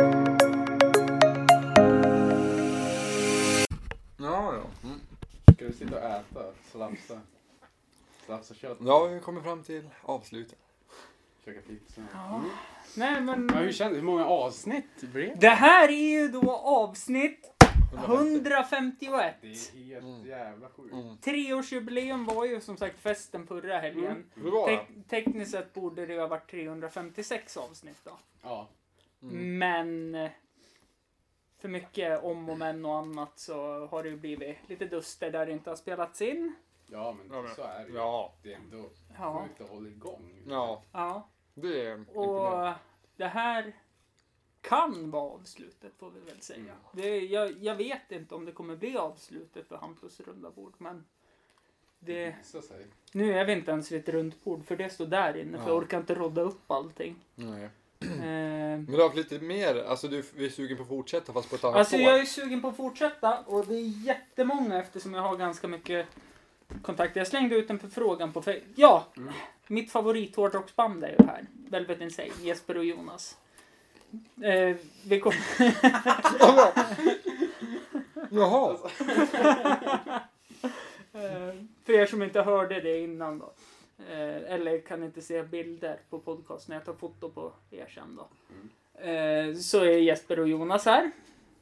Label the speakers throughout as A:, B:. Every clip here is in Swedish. A: Mm.
B: Slafsa. Slafsa kött.
A: Ja, vi kommer fram till avslutet.
B: Käka pizza.
C: Ja.
B: Mm.
C: Nej men.
B: Men hur, känns, hur många avsnitt blev det?
C: Det här är ju då avsnitt 151.
B: Det är helt
A: Mm.
B: jävla sjukt.
A: Mm.
C: Treårsjubileum var ju som sagt festen förra helgen.
B: Mm.
A: Hur var det?
C: Tek- tekniskt sett borde det ju ha varit 356 avsnitt då.
B: Ja.
A: Mm.
C: Men eh, för mycket om och men och annat så har det ju blivit lite duster där det inte har spelats in.
B: Ja men
A: Ja, men-
B: så är det ju.
A: Ja,
B: Det är ändå
C: Ja.
B: sjukt att hålla igång.
A: ja,
C: ja.
A: det är imponerande.
C: Och det här kan vara avslutet får vi väl säga.
B: Mm.
C: Det, jag, jag vet inte om det kommer bli avslutet för Hampus runda bord men det,
B: visar sig.
C: nu är vi inte ens vid ett runt bord för det står där inne för
A: Ja.
C: jag orkar inte rodda upp allting.
A: Nej.
C: Eh,
A: Vill du ha lite mer? Alltså du vi är sugen på att fortsätta fast på ett annat
C: Alltså
A: spår.
C: jag är sugen på att fortsätta och det är jättemånga eftersom jag har ganska mycket kontakter. Jag slängde ut en förfrågan på Facebook. Ja!
B: Mm.
C: Mitt favorit hårdrocksband är ju här. Velvet Insane, Jesper och Jonas. Eh, vi kom...
A: Jaha.
C: eh, för er som inte hörde det innan då. Eh, eller kan inte se bilder på podcast när jag tar foto på er sen då.
B: Mm.
C: Eh, så är Jesper och Jonas här.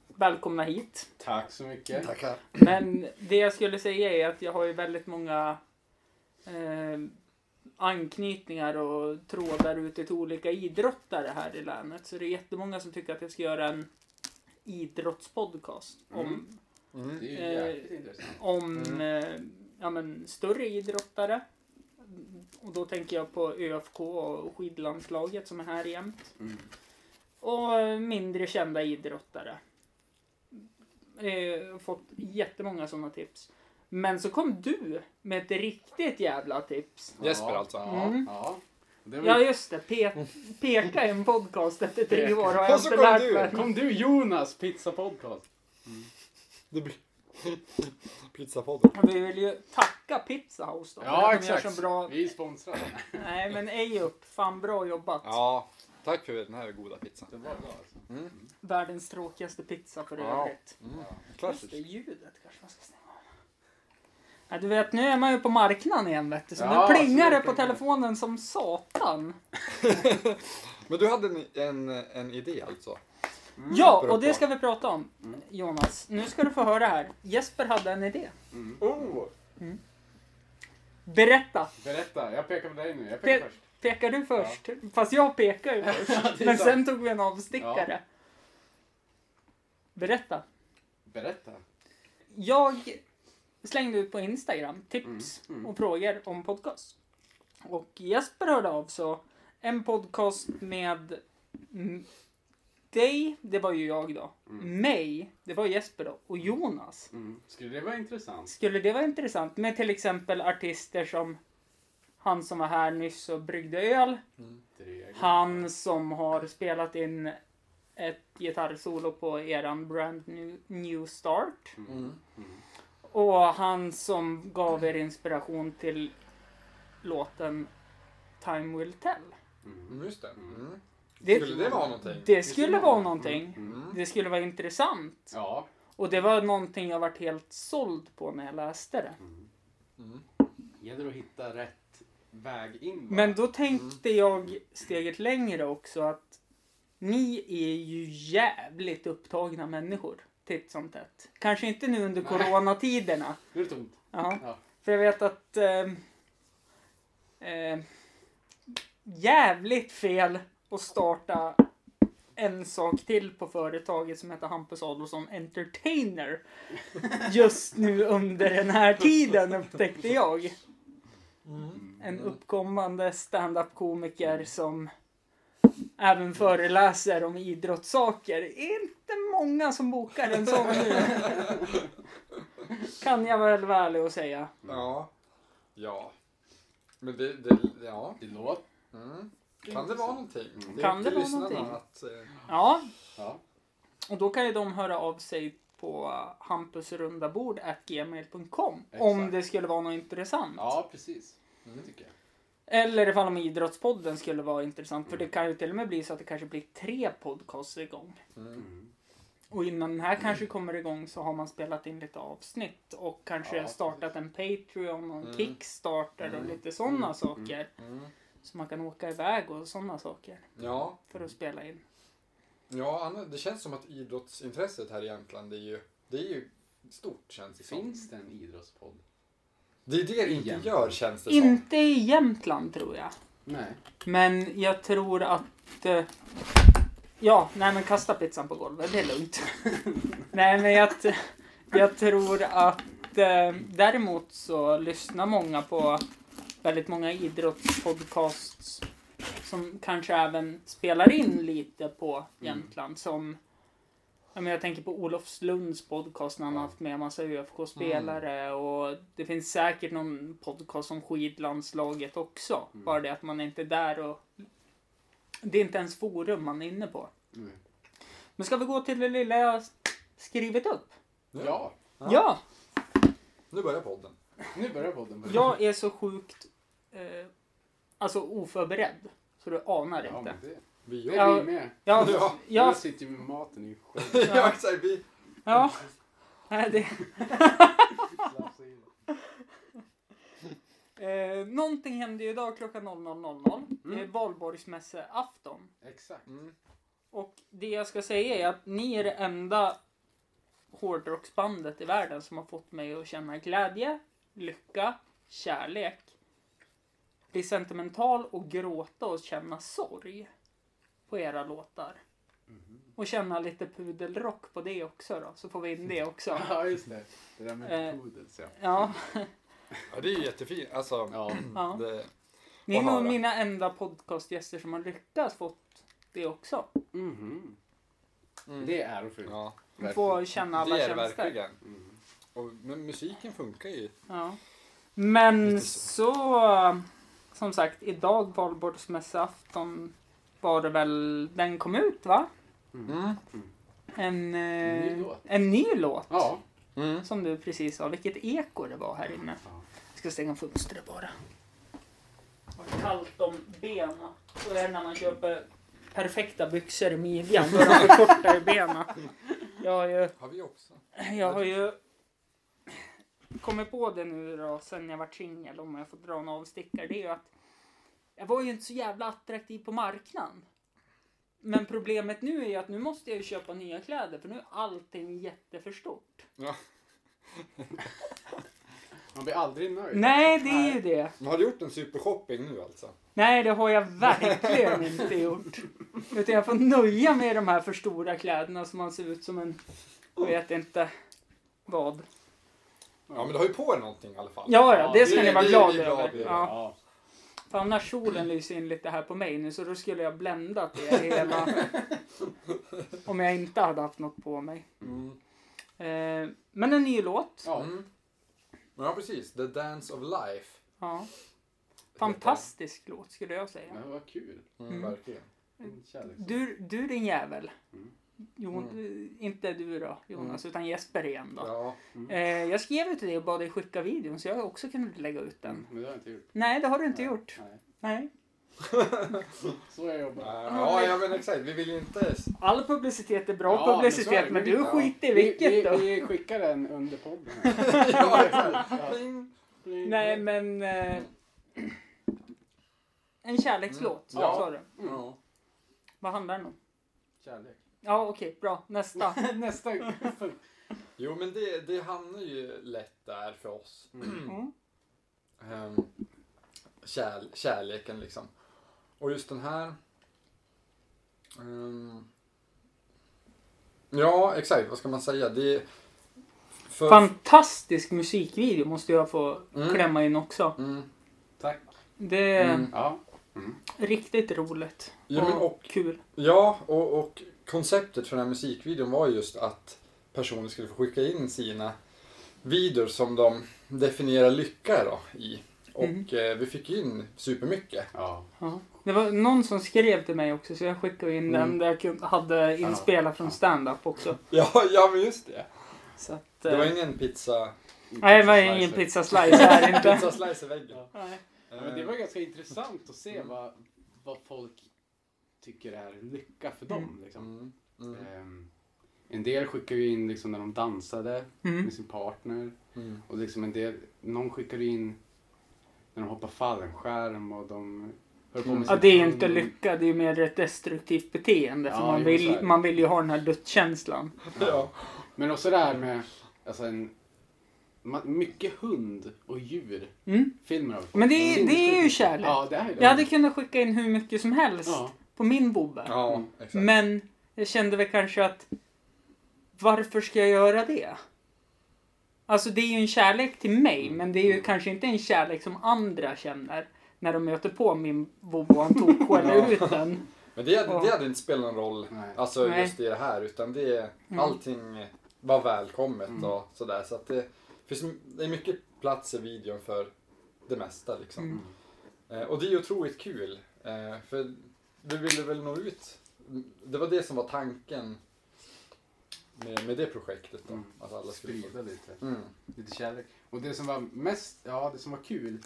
C: Välkomna hit.
B: Tack så mycket.
A: Tackar.
C: Men det jag skulle säga är att jag har ju väldigt många eh, anknytningar och trådar ute till olika idrottare här i länet. Så det är jättemånga som tycker att jag ska göra en idrottspodcast om,
B: Mm. Det
A: Mm.
B: är ju
C: Eh,
B: jäkligt intressant.
C: om
A: Mm.
C: eh, ja, men, större idrottare. Och då tänker jag på ÖFK och skidlandslaget som är här jämt.
B: Mm.
C: Och eh, mindre kända idrottare. Eh, fått jättemånga sådana tips. Men så kom du med ett riktigt jävla tips.
A: Jesper alltså.
B: Ja.
C: Mm.
B: ja. Det var...
C: Ja just det, pe- peka i en podcast efter tre
B: Peka.
C: år har
A: Och
C: jag
A: så
C: inte
A: kom
C: lärt
A: du.
C: mig.
B: Kom du Jonas, pizza podcast.
A: Det blir... Pizzapodden.
C: Och Vi vill ju tacka Pizza House då. för att
B: Ja
C: de
B: exakt.
C: Gör så bra...
B: Vi är sponsrade.
C: Nej men ej upp, fan bra jobbat.
A: Ja, tack för den här goda pizzan.
B: Det var bra alltså.
C: Världens tråkigaste pizza för
A: Ja.
C: övrigt.
A: Mm.
C: Just det,
A: Klassiskt.
C: ljudet kanske man ska stänga av. Ja, du vet, nu är man ju på marknaden igen vet du. Så
B: Ja,
C: nu plingar
B: så
C: det
B: det
C: på
B: plingar.
C: telefonen som satan.
A: Men du hade en, en, en idé alltså?
B: Mm,
C: ja,
A: bra
C: och det
A: kvar.
C: ska vi prata om. Jonas, nu ska du få höra här. Jesper hade en idé.
B: Mm.
A: Oh!
C: Berätta.
B: Berätta, jag pekar på dig nu. Jag
C: Pe-
B: pekar först.
C: Pekar du först? Fast jag pekar ju först.
B: det är
C: Men
B: sant.
C: sen tog vi en avstickare. Berätta.
B: Berätta.
C: Jag slängde ut på Instagram tips
B: Mm, mm.
C: och frågor om podcast. Och Jesper hörde av så en podcast med mm, dig, det var ju jag då, mig, det var Jesper då, och Jonas.
B: Mm. Skulle det vara intressant?
C: Skulle det vara intressant med till exempel artister som han som var här nyss och bryggde öl,
B: Dreg.
C: han som har spelat in ett gitarrsolo på eran brand new, new start.
A: Mm.
C: Och han som gav er inspiration till låten Time Will Tell.
A: Mm, Just det. Mm.
C: Det-
A: Skulle det vara någonting?
C: Det skulle vara någonting.
A: Mm.
C: Det skulle vara intressant.
B: Ja.
C: Och det var någonting jag varit helt såld på när jag läste det.
B: Gäller att hitta rätt väg in. va?
C: Men då tänkte
A: Mm.
C: jag steget längre också att ni är ju jävligt upptagna människor titt som tätt. Kanske inte nu under
B: Nej.
C: coronatiderna.
B: Nu är det tomt.
C: Ja.
B: Ja.
C: För jag vet att ehm, eh, jävligt fel att starta en sak till på företaget som heter Hampus Adolfsson Entertainer just nu under den här tiden upptäckte jag.
B: Mm.
C: En uppkommande stand-up komiker som även föreläser om idrottssaker. Det är inte många som bokar en sån nu. Kan jag väl vara ärlig och säga.
A: Ja. Mm. Ja. Men det, det ja.
B: Det låter.
A: Mm. Kan Mm, det vara någonting? är
C: Kan
A: upp till
C: det vara
A: lyssnarna
C: någonting?
A: Att, eh,
C: Ja,
B: Ja.
C: och då kan ju de höra av sig på hampusrundabord.gmail.com om
B: Exakt.
C: det skulle vara något intressant.
B: ja, precis. Det tycker jag.
C: Eller ifall om idrottspodden
A: Mm. mm,
B: Mm.
C: skulle vara intressant. För det kan ju till och med bli så att det kanske blir tre podcasts igång. Och innan den här kanske kommer igång så har man spelat in lite avsnitt och kanske
B: Ja,
C: startat en Patreon och en
A: Mm.
C: Kickstarter och
A: Mm.
C: lite sådana saker.
A: Mm.
C: Så man kan åka iväg och sådana saker
A: Ja,
C: för att spela in.
A: ja Anna, det känns som att idrottsintresset här i Jämtland, det är ju, det är ju stort känns det som.
B: Finns det en idrottspodd?
A: Det är det det inte
B: Jämtland.
A: gör känns det som.
C: Inte i Jämtland tror jag.
B: Nej.
C: Men jag tror att... eh, Ja, nej men kasta pizzan på golvet, det är lugnt. nej men jag, t- jag tror att eh, däremot så lyssnar många på väldigt många idrottspodcasts som kanske även spelar in lite på Jämtland som Ja, men jag tänker på Olofslunds podcast när han har haft med massa UFK-spelare och det finns säkert någon podcast om skidlandslaget också.
B: Mm.
C: Bara det att man är inte är där och det är inte ens forum man är inne på.
B: Nej.
C: Men ska vi gå till det lilla jag har skrivit upp?
A: Nu,
B: Ja,
A: Ja.
C: Ja!
A: nu börjar podden.
B: nu börjar podden.
C: Jag är så sjukt eh, alltså oförberedd så du anar
B: ja,
C: inte.
B: men det,
A: Vi
B: det
A: gör...
C: Ja.
B: är vi med.
C: Ja,
A: Ja.
C: ja,
B: Jag sitter ju med maten i
A: Ja,
B: skiten.
C: Ja.
A: exakt. Vi...
C: ja. Nej, det, eh, någonting hände ju idag klockan 00.00. Det är
B: Mm.
C: valborgsmässoafton.
B: Exakt.
A: Mm.
C: Och det jag ska säga är att ni är det enda hårdrocksbandet i världen som har fått mig att känna glädje, lycka, kärlek, bli sentimental och gråta och känna sorg på era låtar. Och känna lite pudelrock på det också då, så får vi in det också.
B: Ja, just det. Det där med
C: Eh.
B: pudels, ja.
C: Ja,
A: Ja, det är ju jättefint. Alltså,
B: Ja.
C: ja.
A: det...
C: Ni är
A: Vad
C: nog
A: höra.
C: mina enda podcastgäster som har lyckats fått det också.
B: Mhm.
A: Mm.
B: Det är ärofyllt.
A: Ja,
C: Få känna alla
A: det är det
C: känslor.
A: verkligen.
B: Mm.
A: Och, men musiken funkar ju.
C: Ja. Men
A: Lite så.
C: så, som sagt, idag valborgsmässoafton var det väl den kom ut va?
A: Mm.
C: En, eh,
B: Ny låt.
C: en ny låt.
B: Ja.
A: Mm.
C: Som du precis sa, vilket eko det var här inne.
B: Ja.
C: Jag ska stänga fönstret bara. Har kallt om benen. Så är det när man köper perfekta byxor i midjan. Då är de för korta i benen. Jag har ju
A: Har vi också.
C: Jag har ju kommit på det nu då sen jag vart singel om jag får dra en avstickare. Det är ju att jag var ju inte så jävla attraktiv på marknaden. Men problemet nu är ju att nu måste jag ju köpa nya kläder för nu är allting jätteförstort.
B: Man blir aldrig nöjd.
C: Nej, det är ju det.
A: Men har du gjort en supershopping nu alltså?
C: Nej, det har jag verkligen inte gjort. Utan jag får nöja mig i de här för stora kläderna som man ser ut som en, jag vet inte vad.
A: Ja, men du har ju på dig någonting i alla fall.
C: Ja, ja, det ska
A: det-
C: ni vara
A: det är vi
C: glada
A: glada
C: över.
A: över.
C: Ja.
B: Ja.
C: För annars solen lyser in lite här på mig nu så då skulle jag bländat det hela. Om jag inte hade haft något på mig.
A: Mm.
C: Eh, men en ny låt.
B: Ja.
A: Mm. Ja, precis. The Dance of Life.
C: Ja. Fantastisk låt skulle jag
B: ja.
C: säga.
B: Men vad kul.
A: Mm,
C: Mm.
A: Verkligen.
B: En kärleks-
C: Du, du din jävel.
B: Mm.
C: Jon, Inte du då Jonas utan Jesper igen då.
A: Ja.
C: Eh, jag skrev ju till dig och bad dig skicka videon så jag har också kunnat lägga ut den.
B: Men det har jag inte gjort.
C: Nej det har du inte
B: Mm. Nej.
C: gjort.
B: Nej.
C: Nej.
B: Så jag jobbar.
A: Ja, ja, ja, men exakt. Vi vill ju inte...
C: All publicitet är bra
B: Ja, men så är
C: publicitet
B: det.
C: men,
B: Vi-
C: du
B: ja.
C: skiter i
B: vi,
C: vilket då.
B: vi, vi skickar den under podden.
A: ja, exakt. Mm. Pling.
C: Nej men... Eh, en kärlekslåt,
A: Mm. Ja.
C: sa du.
A: Ja.
C: Vad handlar den om?
B: Kärlek.
C: Ja okej, bra. Nästa.
B: Nästa gång.
A: Jo, men det, det hamnar ju lätt där för oss.
C: Mm.
A: Ehm, kär, kärleken liksom. Och just den här... ehm, ja, exakt. Vad ska man säga? Det är... För,
C: Fantastisk musikvideo måste jag få
A: Mm.
C: klämma in också.
A: Mm,
B: Tack.
C: Det är
A: Mm.
B: Ja.
C: riktigt roligt.
A: ja, men, och,
C: kul.
A: ja och, och konceptet för den här musikvideon var just att personer skulle få skicka in sina videor som de definierar lycka då, i. Och
C: Mm.
A: eh, vi fick in supermycket.
B: Ja.
C: Ja. Det var någon som skrev till mig också så jag skickade in
A: Mm.
C: den där jag kunde- hade inspelat från stand-up också.
A: Ja, ja men just det.
C: Så att,
A: Det var
C: eh,
A: ingen pizza...
C: Nej det var ingen pizza slice här inte.
A: Pizza slice i väggen. Mm.
C: Nej.
B: Ja, men det var ganska intressant att se vad, vad folk tycker är lycka för dem. Liksom.
A: Mm. Mm.
B: Ehm, En del skickar ju in liksom när de dansade
C: Mm.
B: med sin partner.
A: Mm.
B: Och liksom en del, någon skickar ju in när de hoppar fallskärm och de höll på med
C: Ja, det är ju inte lycka, det är ju mer ett destruktivt beteende. För
B: Ja,
C: man,
B: jo,
C: vill,
B: så är det.
C: man vill ju ha den här dödskänslan.
A: Ja.
B: Men också det här med, alltså en, ma- mycket hund och djur.
C: Mm.
B: Filmer har vi fått.
C: Men det är, det är ju kärlek.
B: Ja, det är ju det.
C: Jag hade kunnat skicka in hur mycket som helst
B: Ja.
C: på min bobbe.
A: ja, exakt.
C: Men jag kände väl kanske att varför ska jag göra det? Alltså det är ju en kärlek till mig,
B: Mm.
C: men det är ju kanske inte en kärlek som andra känner när de möter på min bobo och han tog skäller ut den.
A: Men det, det hade inte spelat någon roll
B: Nej. Mm.
A: alltså
C: Nej.
A: just i det här utan det, allting var välkommet och sådär. Så att det finns det är mycket plats i videon för det mesta liksom.
B: Mm.
A: Eh, och det är ju otroligt kul. Eh, för vi ville väl nå ut. Det var det som var tanken med, med det projektet då.
B: Mm.
A: Att alla skulle få.
B: Sprida lite.
A: Mm.
B: Lite kärlek. Och det som var mest, ja det som var kul.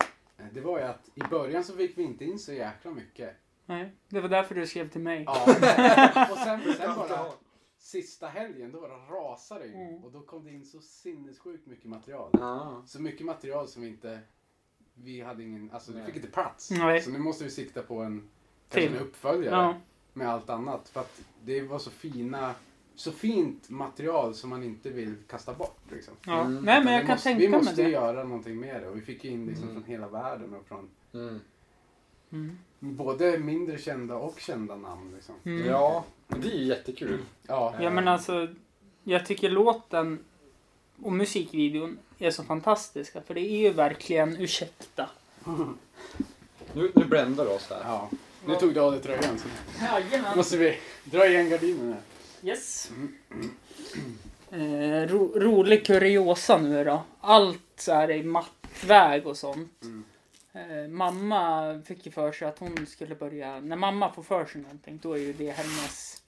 B: eh, Det var ju att i början så fick vi inte in så jäkla mycket.
C: Nej, det var därför du skrev till mig.
B: Ja. Och sen, sen bara sista helgen då rasade det ju.
C: Mm.
B: Och då kom det in så sinnessjukt mycket material.
A: Ja.
B: Så mycket material som vi inte, vi hade ingen, alltså det
A: Nej.
B: fick inte plats.
C: Nej.
B: Så nu måste vi sikta på en, kanske en
C: Film.
B: uppföljare
C: Ja.
B: med allt annat. För att det var så fina, så fint material som man inte vill kasta bort liksom.
C: Ja.
A: Mm.
C: Nej, men
B: Utan
C: jag
B: vi
C: kan
B: måste, Vi
C: tänka mig
B: måste
C: det.
B: göra någonting med det och vi fick in liksom
A: Mm.
B: från hela världen och från
A: Mm.
C: Mm.
B: både mindre kända och kända namn. Liksom.
C: Mm.
A: ja, men det är ju jättekul.
B: Ja,
C: Ja men alltså, jag tycker låten och musikvideon är så fantastiska för det är ju verkligen ursäkta.
A: Nu, nu bländar det oss här.
B: ja. Nu tog du av dig tröjan så
C: Jajamän.
B: måste vi dra igen gardinerna.
C: Yes. Eh, ro, rolig kuriosa nu då. Allt så här i mattväg och sånt.
B: Mm.
C: Eh, mamma fick ju för sig att hon skulle börja, när mamma får för sig någonting då är ju det hennes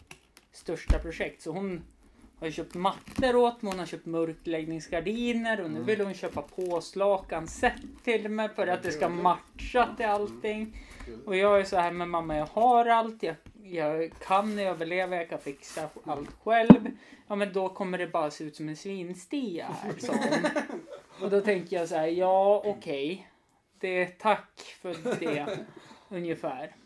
C: största projekt. Så hon har ju köpt mattor åt mig, hon har köpt mörkläggningsgardiner och nu vill hon köpa påslakan set till mig för att det ska matcha till allting. Och jag är så här med mamma, jag har allt, jag, jag kan överleva, jag kan fixa allt själv. Ja men då kommer det bara se ut som en svinstia här, sa hon. Och då tänker jag så här, ja okej. Det är tack för det, ungefär.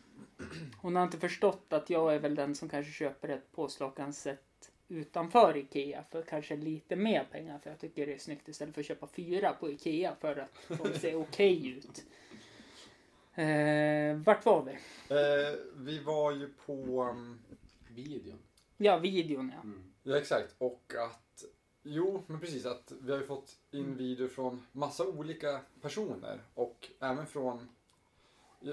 C: Hon har inte förstått att jag är väl den som kanske köper ett påslakanssätt utanför Ikea för kanske lite mer pengar för jag tycker det är snyggt istället för att köpa fyra på Ikea för att de ser okej ut. Eh, vart var vi?
A: Eh, vi var ju på... um,
B: Videon.
C: Ja, videon ja.
B: Mm.
A: Ja, exakt. Och att... Jo, men precis. Att vi har ju fått
C: Mm.
A: in video från massa olika personer. Och även från,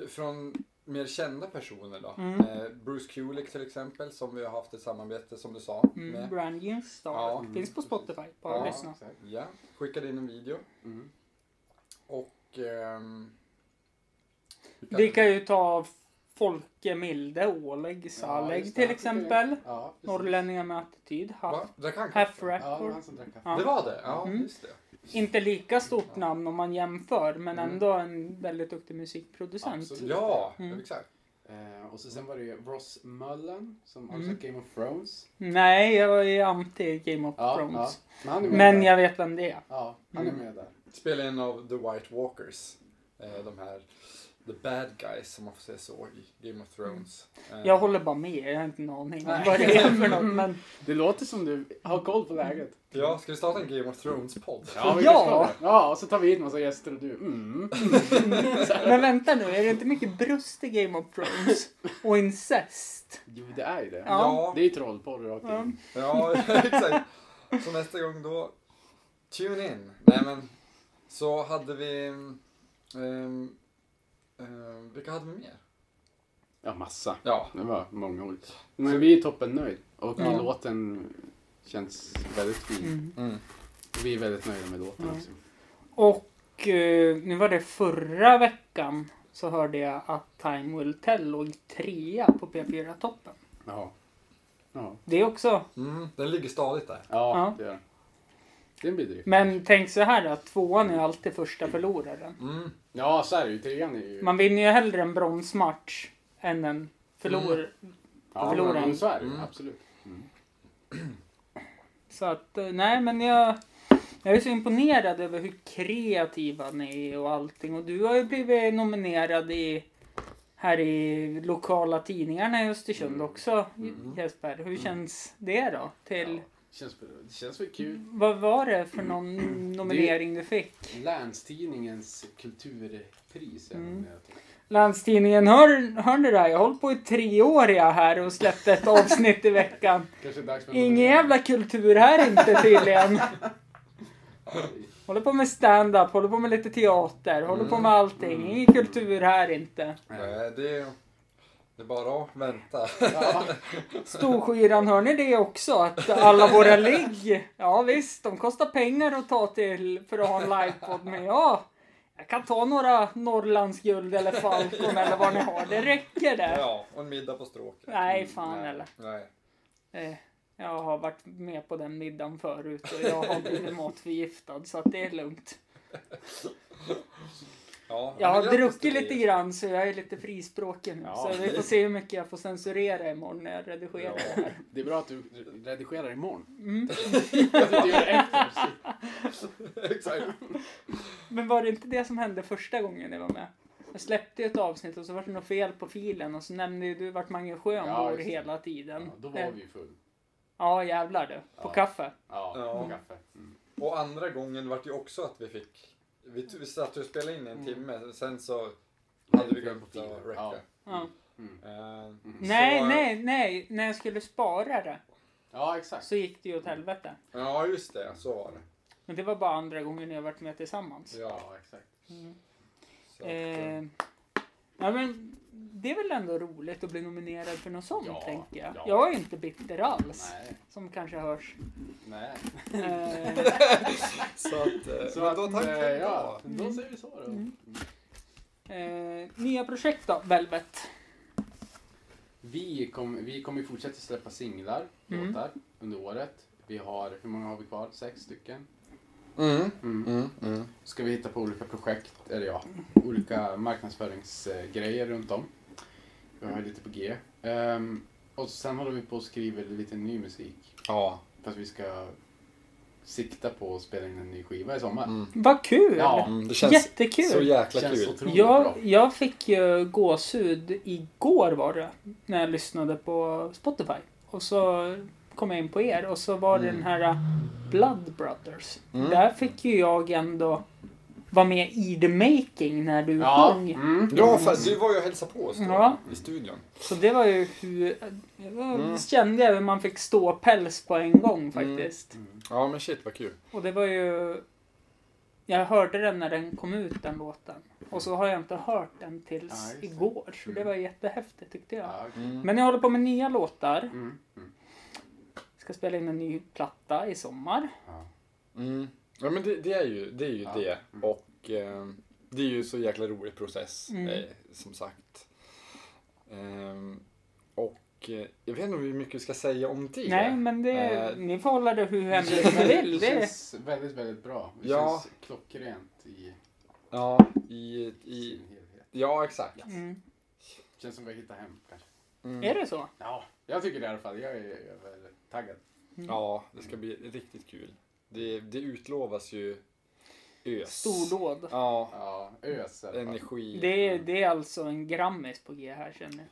A: från mer kända personer då.
C: Mm.
A: Eh, Bruce Kulick till exempel, som vi har haft ett samarbete, som du sa,
C: Mm,
A: med.
C: Brand New Star.
A: Ja.
C: Finns på Spotify. Bara
A: Ja.
C: lyssna.
B: exakt.
A: Ja, skickade in en video.
B: Mm.
A: Och... ehm,
C: Vi kan ju ta Folke Milde, Oleg Saleg
B: just det.
C: till exempel.
B: Ja, precis.
C: Norrlänningar med attityd.
A: Va?
C: Half,
A: Drack han
C: half
A: kaffe?
B: Ja, det var
C: record.
B: han som drack kaffe.
C: Ja.
A: Det var det? Ja,
C: Mm.
A: just det.
C: Inte lika stort namn om man jämför men
A: Mm.
C: ändå en väldigt duktig musikproducent.
B: Absolut.
A: Ja,
C: Mm.
A: exakt.
B: Eh, och så sen var det ju Ross Mullen som har
C: Mm.
B: sett Game of Thrones.
C: Nej, jag är anti Game of
B: Ja, ja.
C: Thrones.
B: Men han är med
C: Men
B: där.
C: jag vet vem det är.
B: Ja, han är
C: Mm.
B: med där.
A: Spelade in av The White Walkers. Eh, de här The Bad Guys, om man får säga så, i Game of Thrones. Eh,
C: Mm. Jag håller bara med, jag har inte en aning om
B: Nej.
C: vad det är för något. Men
B: Det låter som du har koll på läget.
A: Eh, Ja, ska vi starta en Game of Thrones-podd?
B: vi
C: Ja.
B: förstår det. ja, och så tar vi hit massa gäster och du mm.
C: Men vänta nu, är det inte mycket bröst i Game of Thrones? Och incest?
B: Jo, det är ju det.
A: Ja.
B: Det är ju trollporr rakt
C: Ja.
B: in.
A: Ja, exakt. Så nästa gång då, tune in. Nej men, så hade vi... ehm, ehm, vilka hade vi mer?
B: Ja, massa.
A: Ja,
B: Det var många olika. Men vi är toppen nöjd och
C: Ja.
B: låten känns väldigt fin.
C: Mm.
A: mm.
B: Vi är väldigt nöjda med låten
C: Ja.
B: också.
C: Och eh, nu var det förra veckan så hörde jag att Time Will Tell låg trea på P4-toppen.
B: Ja. Ja,
C: Det är också...
A: Mm, den ligger stadigt där.
B: ja
C: Ja.
B: det gör den. Det är en bedrift.
C: Men tänk så här att tvåan är alltid första förloraren.
A: Mm.
B: Ja, så är det ju. Trean är ju...
C: Man vinner ju hellre en bronsmatch än en förlor...
B: ja,
C: förlorar
B: men
C: en.
B: så är det ju.
A: Mm.
B: Absolut.
C: Så att, eh, nej men jag, jag är så imponerad över hur kreativa ni är och allting. Och du har ju blivit nominerad i, här i lokala tidningarna i Östersund också
A: Mm.
C: Jesper. Hur känns det då? Till,
B: Det känns, det känns väl kul.
C: Vad var det för någon nominering du fick?
B: Länstidningens kulturpris. är
C: Mm.
B: det jag tycker.
C: Länstidningen, hör, hör ni det här? Jag har hållit på i tre år jag här och släppt ett avsnitt i veckan.
B: Kanske är dags för en
C: Ingen jävla kultur här inte tydligen.
B: nominering.
C: Håller på med stand-up, håller på med lite teater, håller på med allting.
B: Mm.
C: Ingen kultur här inte.
B: Ja.
A: Nej, Eh, det, det är bara att vänta.
B: Ja.
C: Storskyran, hör ni det också? Att alla våra ligg, ja visst, de kostar pengar att ta till för att ha en livepodd. Men ja, jag kan ta några Norrlandsguld eller Falcon eller vad ni har. Det räcker det.
A: Ja, och en middag på stråket.
C: Nej, fan
B: Nej.
C: eller.
A: Nej.
C: Eh, Jag har varit med på den middagen förut och jag har blivit matförgiftad så att det är lugnt.
A: Ja,
C: Jag
A: men
C: har
A: grattis till
C: druckit
A: det.
C: lite grann så jag är lite frispråkig nu.
A: Ja.
C: Så vi får se hur mycket jag får censurera imorgon när jag redigerar det här.
B: Det är bra att du redigerar imorgon.
C: Mm.
B: Att du inte gör det efter.
A: Exakt.
C: Men var det inte det som hände första gången ni var med? Jag släppte ju ett avsnitt och så var det något fel på filen och så nämnde ju du vart Mange Sjön
B: Ja,
C: bor
B: just det.
C: hela tiden.
B: Ja, då
C: Eh,
B: var vi ju full.
C: ja jävlar du. På
B: Ja.
C: kaffe.
B: Ja,
A: Ja.
B: på kaffe. Mm.
A: Och andra gången vart ju också att vi fick... Vi, vi satt och spelade in i en timme, sen så hade vi glömt att
B: Ja.
A: räcka.
B: Mm.
C: Ja.
A: Eh,
C: Nej,
A: så-
C: nej, nej. När jag skulle spara det
B: Ja, exakt.
C: så gick det ju åt helvete.
A: Ja, just det. Så var det.
C: Men det var bara andra gången jag varit med tillsammans. Mm.
A: Ja,
B: Ja, exakt.
A: så att, eh,
C: Eh, ja, men det är väl ändå roligt att bli nominerad för något sånt,
B: Ja,
C: tänker jag.
B: ja.
C: Jag är inte bitter alls,
B: Nej,
C: som kanske hörs.
B: nej.
C: Eh,
A: så att... eh,
B: Så
A: men
B: att,
A: då tack för
B: eh,
A: idag.
B: ja, då säger vi så då.
C: Mm. eh, nya projekt då, Velvet?
B: Vi kommer vi kommer ju fortsätta släppa singlar,
C: Mm.
B: låtar, under året. Vi har, hur många har vi kvar? Sex stycken.
A: Mm.
B: Mm.
A: Mm. Mm.
B: Ska vi hitta på olika projekt, eller ja, olika marknadsföringsgrejer runt om. Vi har ju lite på G. Ehm, och sen håller vi på och skriver lite ny musik.
A: Ja.
B: Fast vi ska sikta på att spela in en ny skiva i sommar.
A: Mm.
C: Vad kul!
B: Ja,
A: Mm, det känns
C: Jättekul!
A: så jäkla
B: känns
A: kul.
B: otroligt bra.
C: jag, jag fick ju gåshud igår var det, när jag lyssnade på Spotify. Och så kom jag in på er och så var det
A: Mm.
C: den här uh, Blood Brothers.
A: Mm.
C: Där fick ju jag ändå vara med i the making när du
B: Ja,
C: sjöng.
B: mm.
A: Ja, för du var ju och hälsade på oss då,
C: Ja.
A: i studion.
C: Så det var ju hur... Det var,
A: Mm.
C: kände jag hur man fick stå päls på en gång faktiskt.
B: Mm.
A: Ja, men shit vad kul.
C: Och det var ju... Jag hörde den när den kom ut, den låten. Och så har jag inte hört den
B: Ja,
C: tills
B: just det.
C: igår. Så det
A: Mm.
C: var jättehäftigt tyckte jag.
B: Ja, okej.
A: Mm.
C: Men jag håller på med nya låtar.
B: Mm. Mm.
C: Ska spela in en ny platta i sommar.
B: Ja.
A: Mm. Ja, men det, det är ju det. Är ju
B: Ja.
A: det.
B: Mm.
A: Och eh, det är ju så jäkla rolig process,
C: Mm.
A: eh, som sagt. Ehm, och eh, jag vet inte hur mycket vi ska säga om det.
C: Nej, men det...
A: Eh.
C: ni får hålla det hur hemligt ni vill.
B: Det
C: Det,
B: känns väldigt, väldigt bra. Det
A: Ja.
B: känns klockrent i,
A: Ja, i, i,
B: sin helhet.
A: ja exakt.
C: mm.
B: Känns som vi hittar hem kanske.
A: Mm.
C: Är det så?
B: Ja, jag tycker det i alla fall. Jag är, jag är väldigt taggad.
A: Ja, det ska bli riktigt kul. Det, det utlovas ju ös.
C: Stordåd.
A: Ja,
B: Ja, ös i alla fall.
A: energi.
C: Det är, det är alltså en grammis på G här känner jag.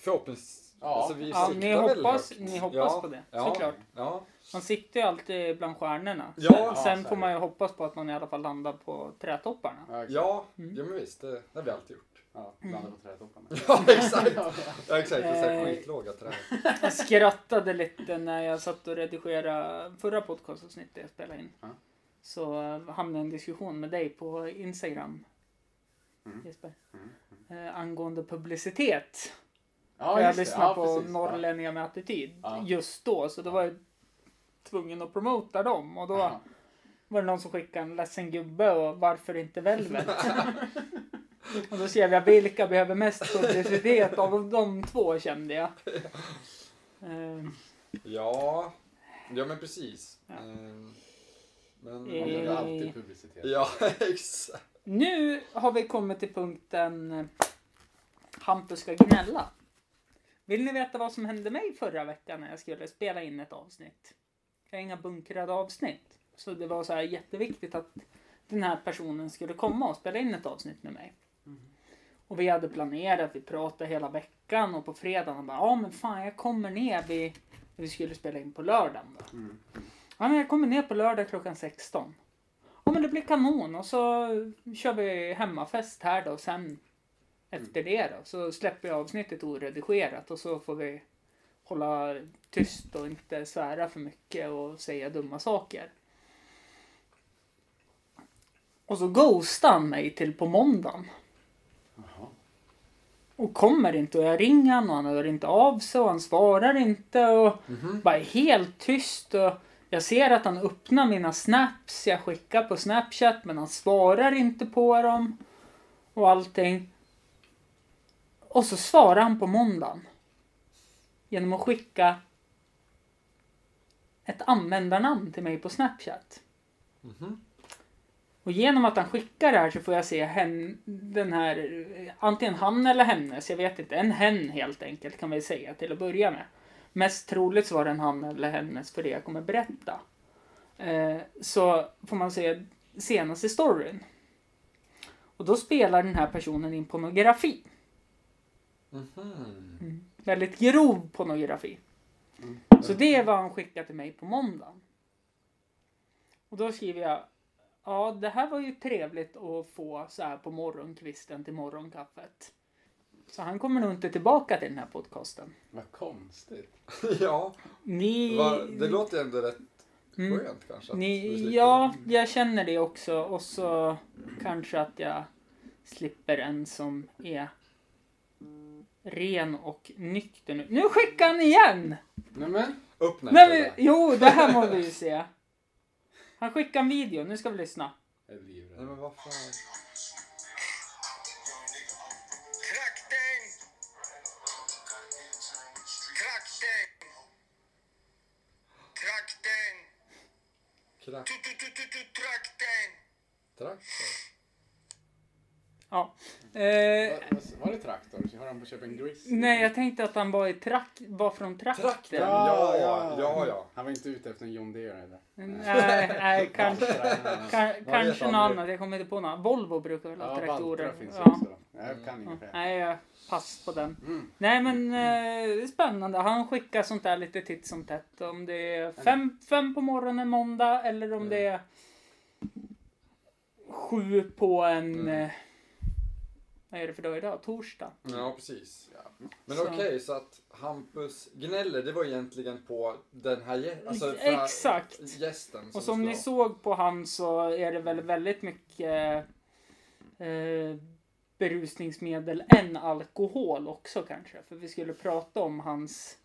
A: Förhoppningsvis.
B: Ja.
A: Alltså, vi
C: Ja,
A: siktar
C: ni
A: väl
C: hoppas,
A: högt.
C: ni hoppas
A: ja.
C: på det,
A: Ja.
C: såklart.
A: Ja.
C: Man siktar ju alltid bland stjärnorna.
A: Ja,
C: sen
A: ja,
C: sen
B: så är
C: får
B: det.
C: man ju hoppas på att man i alla fall landar på trädtopparna.
B: Ja, exakt.
A: Ja,
C: Mm.
A: ja men visst, det, det har vi alltid gjort.
B: ja, blanda på trädtopparna.
A: Ja, exakt. Ja, exakt. Det är så här
C: Eh.
A: skitlåga träd.
C: Jag skrattade lite när jag satt och redigerade förra podcastavsnittet jag spelade in.
B: Ja.
C: Så eh, hamnade en diskussion med dig på Instagram.
B: Mm.
C: Jesper.
B: Mm,
C: Eh, angående publicitet.
B: Ja,
C: jag
B: just det.
C: lyssnade
B: Ja,
C: på
B: precis.
C: Norrlänningar med attityd
B: Ja.
C: just då. Så då
B: Ja.
C: var jag tvungen att promota dem. Och då
B: Ja.
C: var det någon som skickade en ledsen gubbe och varför inte Velvet? och då skrev jag vilka behöver mest publicitet av de två kände jag. Ehm,
A: Ja, ja men precis.
C: Ja.
A: Eh,
B: Ja.
A: Men...
B: Man behöver
C: Eh.
B: alltid publicitet.
A: Ja, exakt.
C: nu har vi kommit till punkten eh, Hampus ska gnälla. Vill ni veta vad som hände mig förra veckan när jag skulle spela in ett avsnitt? Jag har inga bunkrade avsnitt. Så det var så här jätteviktigt att den här personen skulle komma och spela in ett avsnitt med mig.
B: Mm.
C: Och vi hade planerat, vi pratade hela veckan och på fredagen bara ja men fan jag kommer ner vid, vi skulle spela in på lördagen då.
B: Mm.
C: Ja, men jag kommer ner på lördag klockan 16. Ja, men det blir kanon och så kör vi hemmafest här då och sen efter det då så släpper vi avsnittet oredigerat och så får vi hålla tyst och inte svära för mycket och säga dumma saker. Och så ghostar han mig till på måndagen
B: Jaha.
C: och kommer inte och jag ringer han och han hör inte av sig och han svarar inte och
A: Mhm.
C: bara är helt tyst och jag ser att han öppnar mina snaps jag skickar på snapchat men han svarar inte på dem och allting. Och så svarar han på måndagen genom att skicka ett användarnamn till mig på snapchat.
A: Mhm.
C: Och genom att han skickar det här så får jag se hen, den här, eh, antingen han eller hennes, jag vet inte, en hen helt enkelt kan vi säga till att börja med. Mest troligt så var det en han eller hennes för det jag kommer berätta. Eh, så får man se senaste storyn. Och då spelar den här personen in pornografi.
A: Mhm.
C: Väldigt grov pornografi. Så det var han skickade till mig på måndagen. Och då skriver jag Ja, det här var ju trevligt att få så här på morgonkvisten till morgonkaffet. Så han kommer nog inte tillbaka till den här podcasten.
B: Vad konstigt.
A: Ja,
C: Ni...
A: va, det låter ändå rätt
C: Mm.
A: skönt kanske. att vi
C: Ni,
A: slipper-
C: ja, jag känner det också. Och så kanske att jag slipper en som är ren och nykter nu. Nu skickar han igen!
B: Nej men.
A: Upp nätet
C: Nej, men,
A: där.
C: jo, det här må vi ju se. Han skickar en video, nu ska vi lyssna.
B: Jag är
A: Nej
B: livrädd.
A: men vad fan.
D: Knackdäng! Knackdäng! Knackdäng!
A: Krack,
D: Tu-tu-tu-tu-tu-trackdäng!
A: traktor.
C: Ja. Eh,
B: Vad- vad- Var det traktor? Så Har han på köpa en gris?
C: nej, jag tänkte att han var, i trak- var från trakten.
A: Trakten! Ja, ja, ja. ja.
B: Han var inte ute efter en John Deere eller?
C: Nej, nej kanske, ka- kanske
A: aldrig.
C: något annat. Jag kommer inte på något. annat. Volvo brukar väl ha
B: Ja,
C: traktorer.
B: Valtra finns ju
C: Ja.
B: också. Jag kan
C: Ja,
B: inget för det.
C: Nej, jag pass på den.
B: Mm.
C: Nej, men eh, det är spännande. Han skickar sånt där lite titt som tätt. Om det är fem, fem på morgonen måndag eller om det är sju på en... Eh, vad är det för dag idag? Torsdag?
A: Mm. Ja, precis.
B: Ja.
A: Men
C: Så.
A: okej, så att Hampus gnäller, det var egentligen på den här gä- alltså,
C: Ex-
A: för här
C: exakt.
A: gästen.
C: Och som ni
A: ska-
C: såg på han så är det väl väldigt mycket eh, berusningsmedel än alkohol också kanske. För vi skulle prata om hans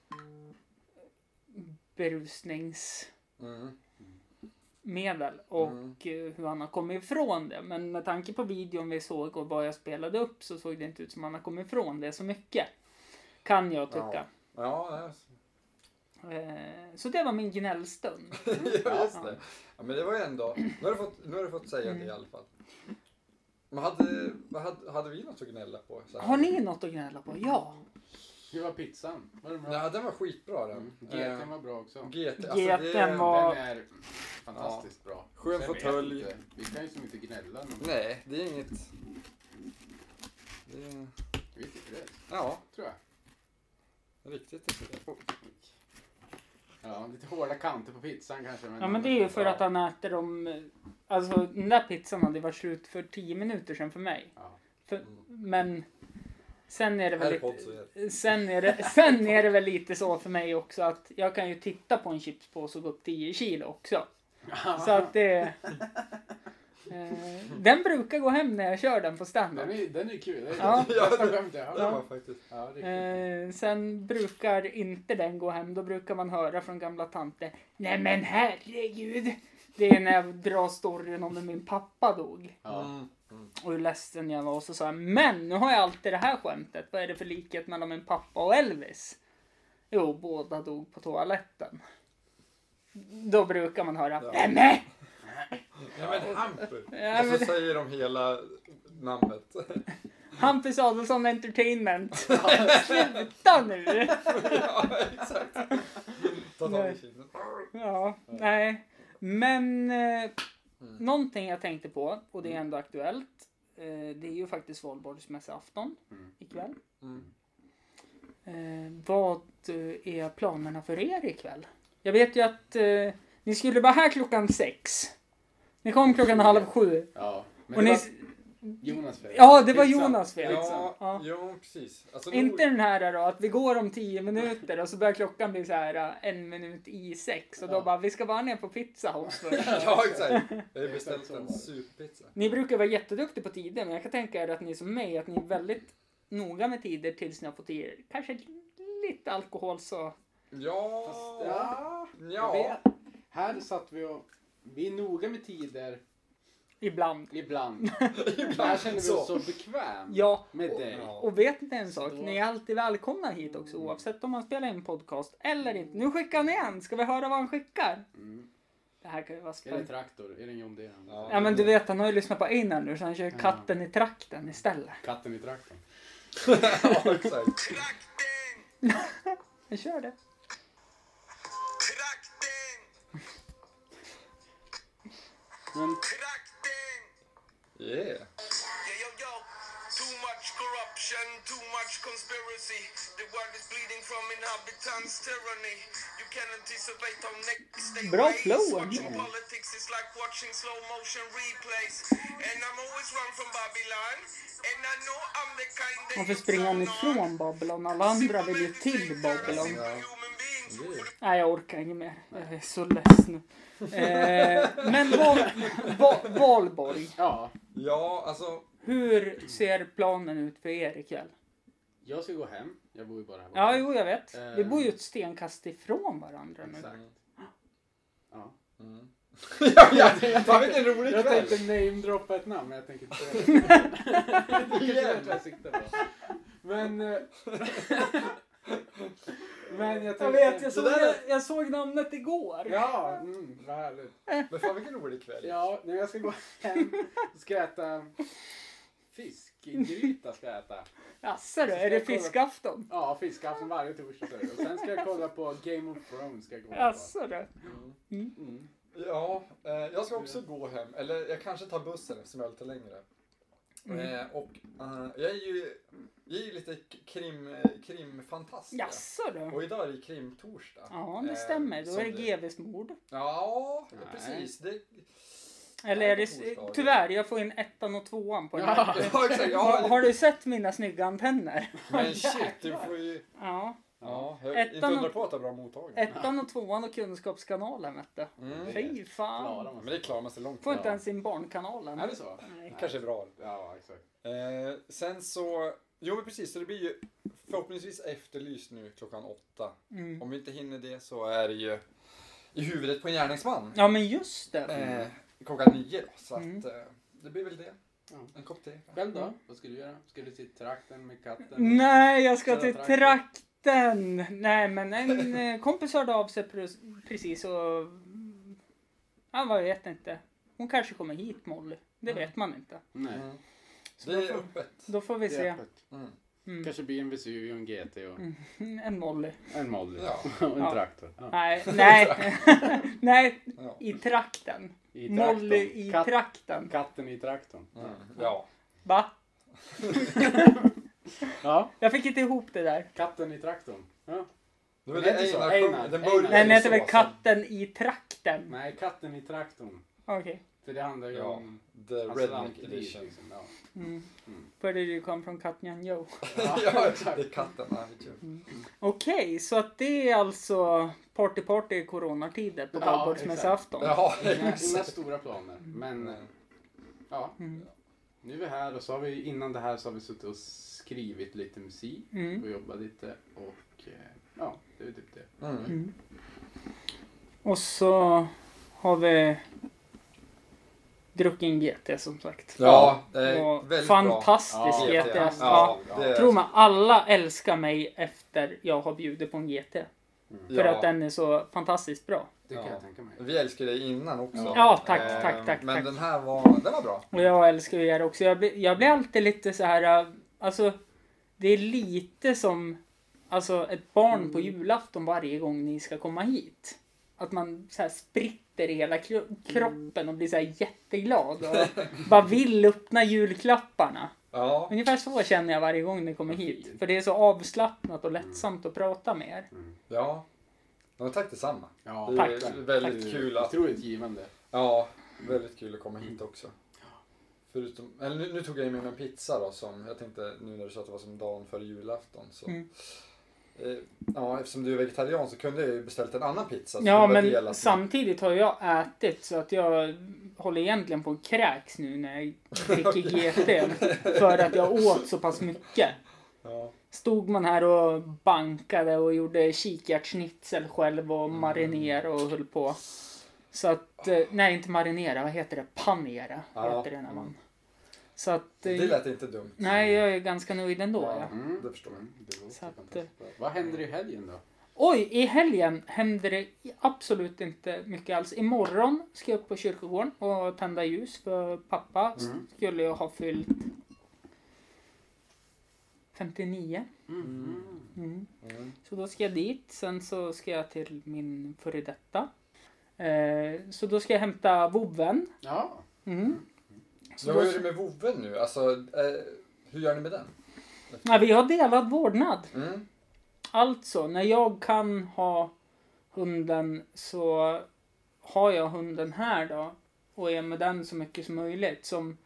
C: berusningsmedel
A: Mm.
C: och
A: Mm.
C: eh, hur han har kommit ifrån det. Men med tanke på videon vi såg och vad jag spelade upp så såg det inte ut som han har kommit ifrån det så mycket. Kan jag tycka.
A: Ja, det är-
C: Eh, så det var min gnällstund.
A: ja, just det. Ja, men det var ju ändå, nu har du fått, nu har du fått säga
C: Mm.
A: det i alla fall. Men hade, vad hade, hade vi något att gnälla på? Så här?
C: Har ni något att gnälla på? Ja.
B: Hur var pizzan? Var den bra?
A: Ja, den var skitbra den.
B: Mm. GT'n var bra också.
A: GT, alltså det
C: Geten
A: är,
C: var- Ja.
B: Den är fantastiskt bra.
A: Skön
B: Sen vet
A: fåtölj.
B: jag inte. Vi kan ju som inte gnälla. någon.
A: Nej, det är inget... Det är,
B: Vi är tillfreds,
A: ja,
B: tror jag.
A: riktigt tillfreds.
B: Ja, lite hårda kanter på pizzan kanske.
C: Ja men det är ju för att han äter dem... Alltså den där pizzan hade varit slut för 10 minuter sedan för mig.
B: Ja.
C: För, men sen är det väl
A: Mm. Här är podd så
C: lite... Sen är, det, sen är det väl lite så för mig också att jag kan ju titta på en chipspåse och gå upp 10 kilo också. Så att det... Eh, den brukar gå hem när jag kör den på standard.
B: Den är, den är kul. Den är
C: Ja.
B: ja. bästa skämt jag har
A: Det
B: hört.
A: var faktiskt...
B: Ja, det är kul.
C: Eh, sen brukar inte den gå hem. Då brukar man höra från gamla tanter. Nej men herregud. Det är när jag drar storyn om när min pappa dog.
B: Ja.
A: Mm. Mm.
C: Och hur ledsen jag var. Och så sa jag. Men nu har jag alltid det här skämtet. Vad är det för likhet mellan min pappa och Elvis? Jo, båda dog på toaletten. Då brukar man höra.
A: Ja.
C: Nej men.
A: Ja, men Hampus!
C: Ja,
A: Och så
C: men-
A: säger de hela namnet.
C: Hampus Adolfsson Entertainment. Sluta nu!
A: ja, exakt. Ta tag i
C: Nej.
A: kinden.
C: Ja, nej. Men
B: Mm.
C: eh, någonting jag tänkte på och det är ändå aktuellt. Eh, det är ju faktiskt valborgsmässoafton
B: Mm.
C: ikväll.
A: Mm.
C: Eh, vad eh, är planerna för er ikväll? Jag vet ju att eh, ni skulle vara här klockan sex. Ni kom klockan halv sju.
B: Ja. Men
C: Och
B: det
C: ni,
B: var Liksom. Jonas fel.
C: ja, det var
B: Skitsamma.
C: Jonas fel.
A: Ja,
C: Ja.
A: ja, Liksom. precis. Alltså,
C: Inte den här då, att vi går om tio minuter och så börjar klockan bli så här eh, en minut i sex och då
A: Ja.
C: bara vi ska bara ner på Pizza House först.
A: Ja, exakt. Jag har ju beställt en superpizza.
C: Ni brukar vara jätteduktiga på tider men jag kan tänka er att ni är som mig, att ni är väldigt noga med tider tills ni har fått i er kanske lite alkohol så.
A: Ja,
B: Fast, ja. Jag
A: ja.
B: vet. Här satt vi och... Vi är noga med tider
C: Ibland.
B: ibland. Här känner vi oss så bekväm
C: Ja,
B: med dig.
A: Ja.
C: och vet ni en sak? Ni är alltid välkomna hit också
B: Mm.
C: oavsett om man spelar in podcast eller inte. Nu skickar han igen, ska vi höra vad han skickar?
B: Mm.
C: Det här kan ju vara
B: Är det en
C: spännande.
B: traktor? Är det en John Deere?
A: Ja.
C: Ja men du vet, han har ju lyssnat på Einar nu så han kör ju
B: Ja.
C: katten i trakten istället.
B: Katten i traktorn.
A: ja, exakt.
D: Trakten!
C: Jag kör det.
D: Trakten!
B: Men
D: Trakten!
A: Yeah.
D: Yo, yo, yo. Too much corruption, too much conspiracy. The world is bleeding from inhabitants' tyranny. You can anticipate on next day.
C: Bra
D: ways.
C: flow,
D: Watching
C: ändå.
D: politics is like watching slow motion replays. And I'm always run from Babylon. And I know I'm the kind that
C: Varför
D: you
C: springer han
D: turn on.
C: ifrån Babylon? Alla andra vill ju till Babylon. Nej, jag orkar inte mer. Jag är så less nu. Eh, men val, va, Valborg,
B: ja,
A: Ja, alltså.
C: hur ser planen ut för er ikväll?
B: jag ska gå hem. Jag bor ju bara här borta.
C: Ja, jo, jag vet. Vi
B: Eh.
C: bor ju ett stenkast ifrån varandra nu.
B: Exakt. Ja.
A: Mm. ja, ja,
B: Jag
A: fan vilken rolig
B: Jag
A: kväll.
B: tänkte namedroppa ett namn, men jag tänker inte... Du kanske vet vad jag siktar på. Men... eh, men jag tänkte...
C: Jag vet, jag såg,
A: såg- jag-
C: jag såg namnet igår.
B: Ja, mm, vad härligt.
A: Men fan vilken rolig kväll.
B: Ja, nu jag ska gå hem och ska jag äta fiskgryta. Ska jag äta.
C: Jaså du, är det fiskafton?
B: Ja, fiskafton varje torsdag. så är det. Och sen ska jag kolla på Game of Thrones. Ska jag kolla på.
C: Jaså du.
B: Mm.
A: Ja, eh, jag ska också gå hem. Eller jag kanske tar bussen eftersom jag är lite längre. Eh, och eh, jag är ju, jag är ju lite k- krim, eh, krimfantast.
C: Jaså du.
A: Och idag är det krimtorsdag.
C: Ja, det
A: Eh,
C: stämmer. Då
A: som
C: är det GVs mord.
A: Ja,
B: Nej.
A: precis. Det,
C: Eller är det...
A: torsdagar.
C: Tyvärr, jag får in ettan och tvåan på den
B: Ja.
C: här.
A: ja, exakt.
C: Har,
A: Ja,
C: har du sett mina snygga antenner?
A: men shit, du får ju...
C: Ja.
A: Ja, jag,
C: Ettan
A: inte undra
C: och-
A: på att det är bra mottagning.
C: Ettan och tvåan och Kunskapskanalen vet du.
A: Mm.
B: Klara
C: Fy fan.
B: man
A: Men
B: sig.
A: det klarar man sig långt
C: Får
A: med.
C: inte ens in Barnkanalen.
B: Är det så?
C: Nej.
A: Kanske är bra.
B: Ja, exakt.
A: Eh, sen så, jo men precis, så det blir ju förhoppningsvis efterlyst nu klockan åtta.
C: Mm.
A: Om vi inte hinner det så är det ju i huvudet på en gärningsman.
C: Ja men just det.
A: Eh, klockan nio då, så
C: Mm.
A: att eh, det blir väl det.
B: Ja.
A: En kopp te.
B: Själv då? Mm. Vad ska du göra? Ska du till trakten med katten?
C: Nej jag ska
B: Köra
C: till
B: traktor.
C: trakten. Nej men en eh, kompis hörde av sig pre- precis och... Ja, vad vet inte. Hon kanske kommer hit Molly. Det vet man inte.
B: Nej.
A: Mm. Det är öppet.
C: Då får vi
B: Det är
C: se.
B: öppet.
A: Mm.
C: Mm.
B: Kanske blir en Vesuvio, en GT och
C: En Molly.
B: en Molly.
A: Ja.
B: Och en
C: Ja.
B: traktor. Ja.
C: Nej, nej. nej,
A: Ja.
C: i trakten.
B: I traktorn.
C: Molly i
B: Katt-
C: trakten.
B: Katten i traktorn.
A: Mm. ja.
C: Va?
B: Ja,
C: Jag fick inte ihop det där.
B: katten i traktorn. Ja.
A: Det var
B: Den
A: det
B: heter så,
A: Einar
B: Einar.
A: sjöng. Den
B: Einar.
A: började
C: Den
A: ju
C: heter
A: så
C: väl Katten i trakten?
B: Nej, katten i traktorn.
C: Okej.
B: För det handlar ju
A: Ja.
B: om
A: sen.
B: alltså,
A: The
B: hans
A: Redneck
B: lantliv,
A: Edition.
B: liksom. Ja.
C: Mm. För det du kom från Katjan Joe.
A: ja, exakt. det är katten. Ja, det är kul.
C: Okej, så att det är alltså party party i coronatider på
B: Ja,
C: valborgsmässoafton.
A: Ja,
B: Inga, inga
A: exakt.
B: stora planer, men
C: Mm.
B: eh, ja. Nu är vi här och så har vi innan det här så har vi suttit och skrivit lite musik
C: Mm.
B: och jobbat lite och eh, ja, det är typ det.
A: Mm.
C: Mm. Och så har vi druckit en GT som sagt.
A: Ja, det är
C: Och
A: väldigt bra.
C: fantastisk
B: Ja,
C: GT.
A: Ja,
C: Ja.
A: det-
C: Tror man, alla älskar mig efter jag har bjudit på en GT. För
A: Ja.
C: att den är så fantastiskt bra.
B: Det kan
A: Ja.
B: jag tänka mig.
A: Vi älskade dig innan också. Eh,
C: Ja, tack, tack, tack,
A: Men
C: tack.
A: den här var, den var bra.
C: Och jag älskar er också. Jag blir, jag blir alltid lite så här äh, Alltså, det är lite som alltså, ett barn på julafton varje gång ni ska komma hit. Att man så här spritter i hela kro- kroppen och blir så här jätteglad och bara vill öppna julklapparna.
A: Ja.
C: Ungefär så känner jag varje gång ni kommer hit. För det är så avslappnat och lättsamt att prata med er.
A: Ja. ja tack detsamma.
B: Ja,
A: Det
C: tack.
A: är väldigt kul att...
B: Otroligt givande.
A: Ja, väldigt kul att komma
C: Mm.
A: hit också. Förutom, eller nu, nu tog jag ju med mig en pizza då som jag tänkte nu när du sa att det var som dagen före julafton. Så.
C: Mm.
A: Eh, ja, eftersom du är vegetarian så kunde jag ju beställt en annan pizza. som
C: Ja,
A: kunde ha Alltså, delat
C: men
A: med-
C: samtidigt har jag ätit så att jag håller egentligen på att kräks nu när jag dricker GT. För att jag åt så pass mycket.
A: Ja,
C: Stod man här och bankade och gjorde kikärtsschnitzel själv
A: Mm.
C: och marinera och höll på. Så att, eh, nej inte marinera, vad heter det? Panera
A: Ja. Mm.
C: heter det när man. Så att, eh,
A: det lät inte dumt.
C: nej jag är ganska nöjd ändå. Ja.
B: Mm.
A: Det förstår jag.
B: Det låter
C: Så att, eh,
B: fantastiskt bra. Vad händer i helgen då?
C: Oj, i helgen händer det absolut inte mycket alls. Imorgon ska jag upp på kyrkogården och tända ljus för pappa
B: Mm.
C: skulle jag ha fyllt 59.
B: Mm.
C: Mm.
A: Mm.
C: Så då ska jag dit. Sen så ska jag till min före detta. Eh, så då ska jag hämta vovven.
B: Ja.
C: Mm.
A: Så vad gör du med vovven nu? Alltså, eh, hur gör ni med den?
C: Nej, vi har delad vårdnad.
A: Mm.
C: Alltså, när jag kan ha hunden så har jag hunden här då och är med den så mycket som möjligt. Som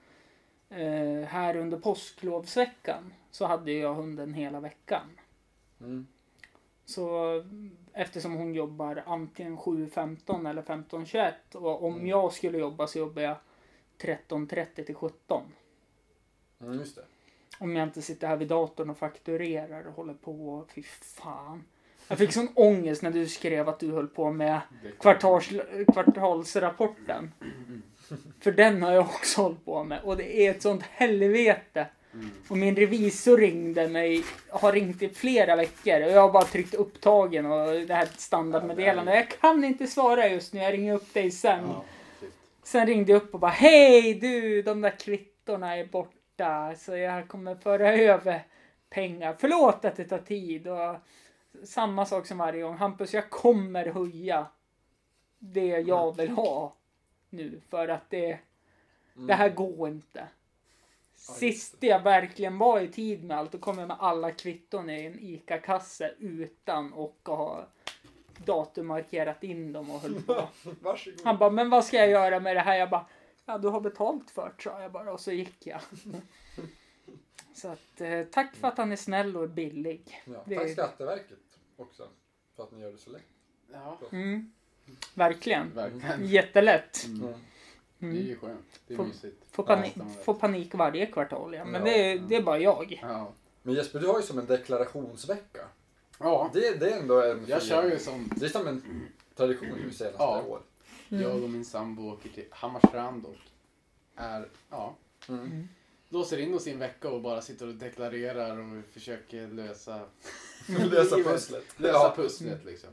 C: eh, här under påsklovsveckan så hade jag hunden hela veckan.
A: Mm.
C: Så eftersom hon jobbar antingen 7.15 eller 15.21 och om jag skulle jobba så jobbar jag 13.30 till 17.
A: Mm, just det.
C: Om jag inte sitter här vid datorn och fakturerar och håller på och fy fan. Jag fick sån ångest när du skrev att du höll på med
B: Det kommer.
C: kvartals, kvartalsrapporten. För den har jag också hållit på med och det är ett sånt helvete.
B: Mm.
C: Och min revisor ringde mig, har ringt i flera veckor och jag har bara tryckt upptagen och det här är ett standardmeddelande. Jag kan inte svara just nu, jag ringer upp dig sen.
B: Ja, shit.
C: Sen ringde jag upp och bara hej du, de där kvittorna är borta så jag kommer föra över pengar. Förlåt att det tar tid och samma sak som varje gång. Hampus, jag kommer höja det jag vill ha nu för att det,
A: Mm.
C: det här går inte. Sist jag verkligen var i tid med allt, då kom jag med alla kvitton i en ICA-kasse utan och ha datummarkerat in dem och höll på.
A: Varsågod.
C: Han bara, men vad ska jag göra med det här? Jag bara, ja du har betalt för det sa jag bara och så gick jag. Så att eh, tack för att han är snäll och är billig.
A: Ja,
C: det-
A: Tack Skatteverket också för att ni gör det så lätt.
B: Ja,
C: Mm. Verkligen.
B: verkligen.
C: Jättelätt.
B: Mm. Det är
C: Mm.
B: ju skönt. Det är
C: Får-
B: mysigt.
C: Får,
A: Ja,
C: panik,
B: stämmer.
C: får panik varje kvartal ja. men
A: Ja.
C: det, är- det är bara jag.
B: Ja.
A: Men Jesper, du har ju som en deklarationsvecka.
B: ja,
A: Det, det är ändå en...
B: jag kör ju sånt.
A: Det är som en tradition nu senaste
B: Ja.
A: år.
B: Jag
C: Mm.
B: och min sambo åker till Hammarstrand och är, ja,
A: Mm.
B: låser in oss i en vecka och bara sitter och deklarerar och försöker lösa,
A: Lösa pusslet.
B: lösa
A: Ja.
B: pusslet liksom.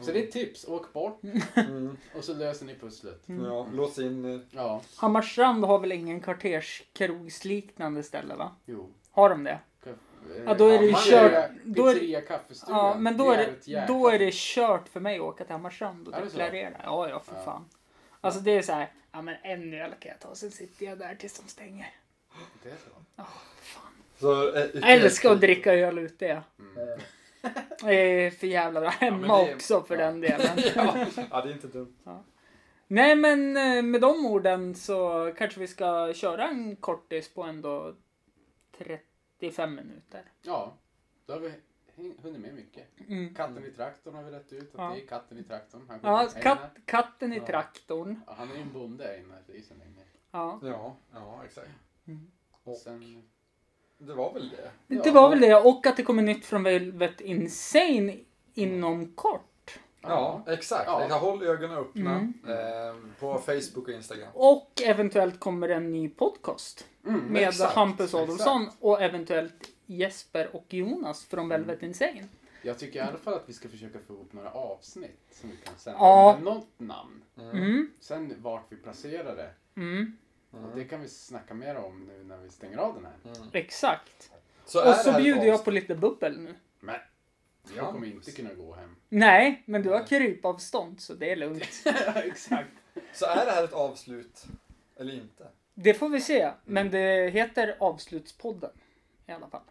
B: Så det är ett tips, åk bort
A: Mm.
B: och så löser ni pusslet.
A: Ja, lås in... eh,
B: Ja,
C: Hammarstrand har väl ingen kvarterskrogsliknande ställe va?
B: jo.
C: Har de det?
B: Kaff- eh,
C: Ja, då är det ju
B: Hammar
A: kört.
C: Då är-
B: Pizzeria, kaffestuga.
C: Ja, men då är,
B: ett jäkla-
C: det, då är det kört för mig att åka till Hammarstrand och
B: Är det så?
C: deklarera. Ja, ja, för
B: Ja.
C: fan. Alltså det är så här, ja men en öl kan jag ta, sen sitter jag där tills de stänger.
B: Det är så.
A: Så, eh,
C: Jag älskar att dricka öl ute. Ja.
A: Eh,
C: Det är för jävla bra. Hemma
A: men det är-
C: också för
A: ja.
C: den delen.
A: ja. ja, det är inte dumt.
C: Nej men eh, med de orden så kanske vi ska köra en kortis på ändå 35 minuter.
B: Ja, då har vi häng- hunnit med mycket.
C: Mm.
B: Katten i traktorn har vi rätt ut. Att
C: Ja.
B: Det är katten i traktorn. Han går
C: Ja,
B: ut med
C: kat,
B: pengarna.
C: katten i
A: Ja.
C: traktorn.
B: Ja, han är ju en bonde Einar, det är ju så länge.
C: Ja.
A: Ja, ja exakt.
C: Mm.
A: Och
B: Sen,
A: det var väl det.
C: Det var väl det och att det kommer nytt från Velvet Insane inom kort.
A: Ja, exakt.
B: Ja.
A: Jag håll ögonen öppna
C: Mm.
A: eh, på Facebook och Instagram.
C: Och eventuellt kommer en ny podcast
B: Mm,
C: med
A: exakt,
C: Hampus Adolfsson och eventuellt Jesper och Jonas från Velvet Insane.
B: jag tycker i alla fall att vi ska försöka få ihop några avsnitt som vi kan sända.
C: Ja.
B: Med något namn.
C: Mm,
B: Sen vart vi placerar det.
C: mm.
B: Och det kan vi snacka mer om nu när vi stänger av den här.
A: Mm.
C: Exakt.
A: Så är
C: Och
A: det
C: så
A: här ett
C: bjuder jag
A: avsnitt-
C: på lite bubbel nu.
B: Men jag kommer
A: Hans.
B: inte kunna gå hem.
C: Nej, men du har
A: Nej.
C: krypavstånd så det är lugnt.
B: Exakt.
A: Så är det här ett avslut eller inte?
C: Det får vi se. Men det heter Avslutspodden i alla fall.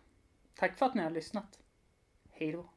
C: Tack för att ni har lyssnat. Hej då.